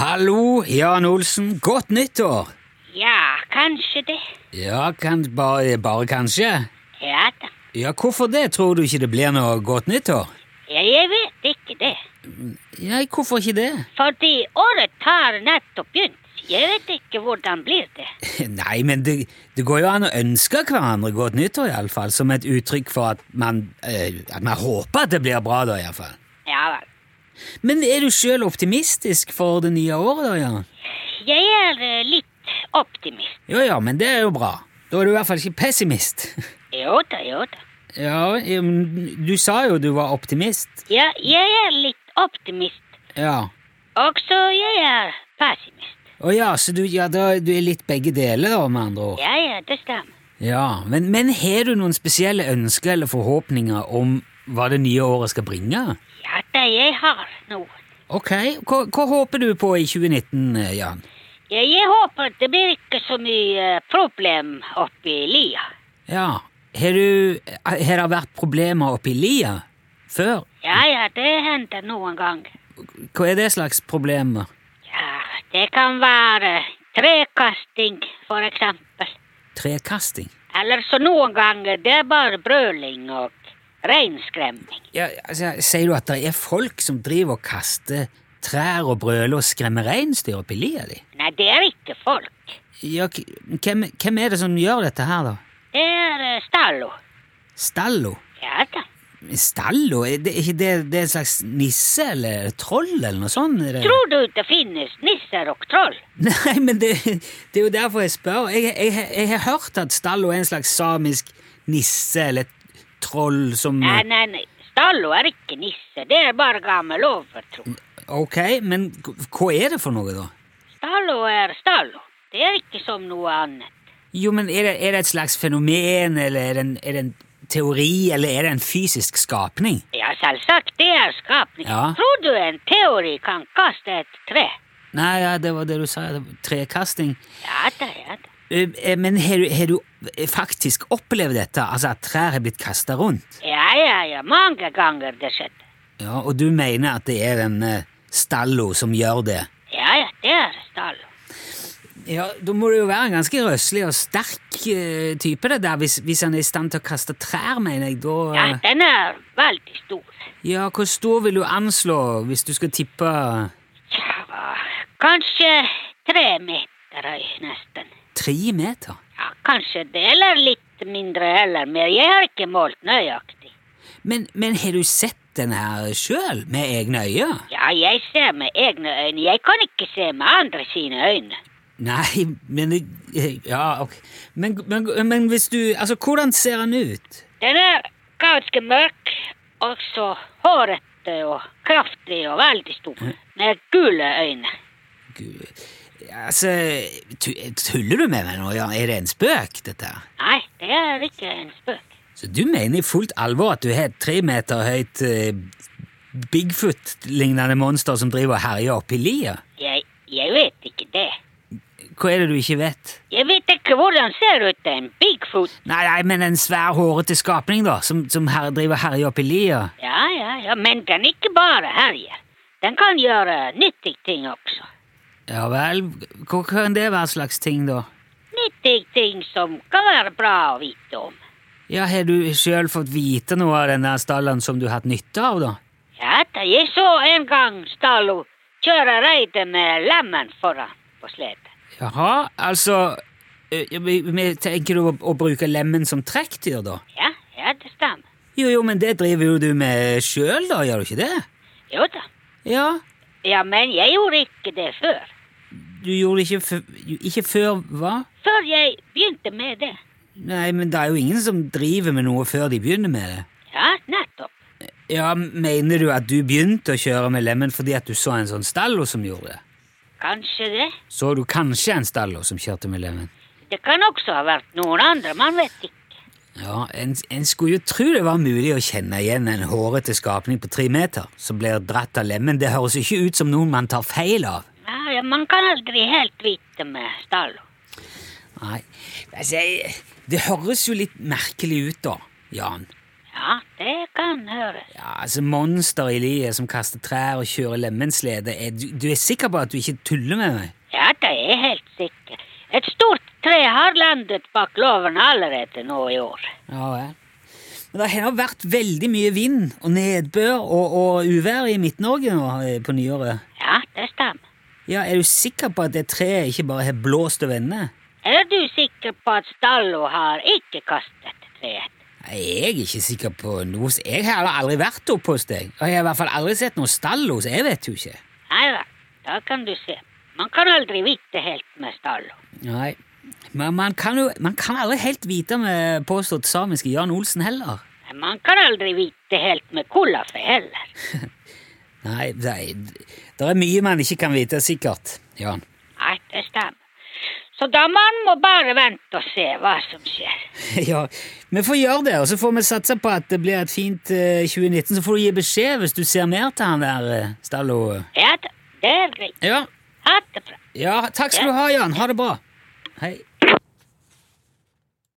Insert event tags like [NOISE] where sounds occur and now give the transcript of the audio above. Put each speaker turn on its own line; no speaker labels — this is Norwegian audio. Hallo, Jan Olsen. Godt nyttår!
Ja, kanskje det.
Ja, kan, bare, bare kanskje?
Ja da.
Ja, hvorfor det? Tror du ikke det blir noe godt nyttår?
Ja, jeg vet ikke det.
Ja, hvorfor ikke det?
Fordi året har nettopp begynt. Jeg vet ikke hvordan blir det.
[LAUGHS] Nei, men det, det går jo an å ønske hverandre godt nyttår, iallfall. Som et uttrykk for at man, eh, at man håper at det blir bra, da, iallfall.
Ja vel.
Men er du sjøl optimistisk for det nye året, da, Jan?
Jeg er eh, litt optimist.
Jo ja, men det er jo bra. Da er du i hvert fall ikke pessimist. [LAUGHS]
Jo da, jo da.
Ja, eh, men du sa jo du var optimist.
Ja, jeg er litt optimist.
Ja.
Også jeg er pessimist.
Å ja, så du, ja, da, du er litt begge deler, da, med andre ord?
Ja, ja, det stemmer.
Ja, men, men har du noen spesielle ønsker eller forhåpninger om hva det nye året skal bringe?
Ja da, jeg har noe.
Ok, hva, hva håper du på i 2019, eh, Jan?
Ja, jeg håper det blir ikke så mye eh, problem oppe i lia.
Ja, har du Har det vært problemer oppe i lia før?
Ja, ja, det hender noen ganger.
Hva er det slags problemer?
Ja, det kan være trekasting, for eksempel.
Trekasting?
Eller så noen ganger det er bare brøling og reinskremming.
Ja, altså, Sier du at det er folk som driver og kaster trær og brøler og skremmer reinsdyr oppi lia di?
Nei, det er ikke folk.
Ja, k- hvem, hvem er det som gjør dette her, da?
Det er eh, stallo.
Stallo?
Ja da.
Stallo? Er det, er ikke det, det er en slags nisse eller troll eller noe sånt? Er det?
Tror du det finnes nisser og troll?
[LAUGHS] Nei, men det, det er jo derfor jeg spør. Jeg, jeg, jeg har hørt at Stallo er en slags samisk nisse eller troll som
Nei, nei, nei. Stallo er ikke nisse, det er bare gammel overtro.
Ok, men k- hva er det for noe, da?
Stallo er stallo. Det er ikke som noe annet.
Jo, men er det, er det et slags fenomen, eller er det, en, er det en teori, eller er det en fysisk skapning?
Ja, selvsagt, det er skapning.
Ja.
Tror du en teori kan kaste et tre?
Nei, ja, det var det du sa. det var Trekasting.
Ja da, ja da.
Eh, eh, Men har du, har du faktisk opplevd dette? Altså at trær har blitt kasta rundt?
Ja, ja, ja. Mange ganger det skjedde.
Ja, Og du mener at det er den eh, Stallo som gjør det?
Ja, ja, det er stall.
Ja, Da må det jo være en ganske røslig og sterk eh, type, det der, hvis, hvis han er i stand til å kaste trær, mener jeg. Da,
Ja,
eh,
den er veldig stor.
ja, Hvor stor vil du anslå hvis du skal tippe
Ja, hva- kanskje tre meter høy, nesten.
tre meter?
Ja, kanskje det, eller litt mindre eller mer. Jeg har ikke målt nøyaktig.
Men, men har du sett den her sjøl, med egne øyne? [LAUGHS]
Ja, jeg ser med egne øyne. Jeg kan ikke se med andre sine øyne.
Nei, men jeg- eh, Ja, ok. Men, men, men hvis du Altså, hvordan ser han ut?
Den er ganske mørk, og så hårete og kraftig og veldig stor, med gule øyne.
Gud. Altså, tu- tuller du med meg nå? Ja, er det en spøk, dette her?
Nei, det er ikke en spøk.
Så du mener i fullt alvor at du har et tre meter høyt eh, Bigfoot-lignende monster som driver og herjer oppi lia?
Jeg, jeg vet ikke det.
Hva er det du ikke vet?
Jeg vet ikke hvordan ser ut en Bigfoot.
Nei, nei, men en svær, hårete skapning, da, som, som her, driver og herjer oppi lia.
Ja, ja, ja, men den ikke bare herjer. Den kan gjøre nyttige ting også.
Ja vel, hva kan det være slags ting, da?
Nyttige ting som kan være bra å vite om.
Ja, Har du sjøl fått vite noe av den der stallen som du har hatt nytte av, da?
Ja, da jeg så en gang Stalo kjøre reide med lemmen foran på sleden.
Jaha, altså eh, vi- vi- Tenker du å, å bruke lemmen som trekkdyr, da?
Ja, ja, det stemmer.
Jo, jo, men det driver jo du med sjøl, da, gjør du ikke det?
Jo da.
Ja,
Ja, men jeg gjorde ikke det før.
Du gjorde det ikke, fø- ikke før hva?
Før jeg begynte med det.
Nei, men det er jo ingen som driver med noe før de begynner med det.
Ja, nettopp.
Ja, Mener du at du begynte å kjøre med lemmen fordi at du så en sånn stallo som gjorde det?
Kanskje det.
Så du kanskje en stallo som kjørte med lemmen?
Det kan også ha vært noen andre, man vet ikke.
Ja, en, en skulle jo tro det var mulig å kjenne igjen en hårete skapning på tre meter som blir dratt av lemmen. Det høres jo ikke ut som noen man tar feil av.
Ja, ja, man kan aldri helt vite med Stallo.
Nei, altså, jeg- det høres jo litt merkelig ut da, Jan.
Ja, det kan høres.
Ja, altså Monster i liet som kaster trær og kjører lemenslede. Er du, du er sikker på at du ikke tuller med meg?
Ja, det er helt sikkert. Et stort tre har landet bak låven allerede nå i år.
Ja vel. Men det har vært veldig mye vind og nedbør og, og uvær i Midt-Norge nå eh, på nyåret.
Ja, det stemmer.
Ja, Er du sikker på at det treet ikke bare har blåst og vendt?
Er du sikker på at Stallo har ikke kastet treet?
Nei, Jeg er ikke sikker på noe s- Jeg har aldri vært oppe hos deg. Og jeg har i hvert fall aldri sett noe stall hos Jeg vet jo ikke.
Nei vel, da kan du se. Man kan aldri vite helt med Stallo.
Nei. Men man kan jo man kan aldri helt vite med påstått samiske Jan Olsen heller.
Men man kan aldri vite helt med Kollafe heller.
Nei, nei, det er mye man ikke kan vite sikkert, Jan.
Nei, det stemmer. Så da man må bare vente og se hva som skjer.
[LAUGHS] ja, Vi får gjøre det, og så får vi satse på at det blir et fint eh, 2019. Så får du gi beskjed hvis du ser mer til han der eh, Stallo.
Ja da, det er greit.
Ja,
Ha det bra.
ja, takk skal du ha, Jan. Ha det bra. Hei.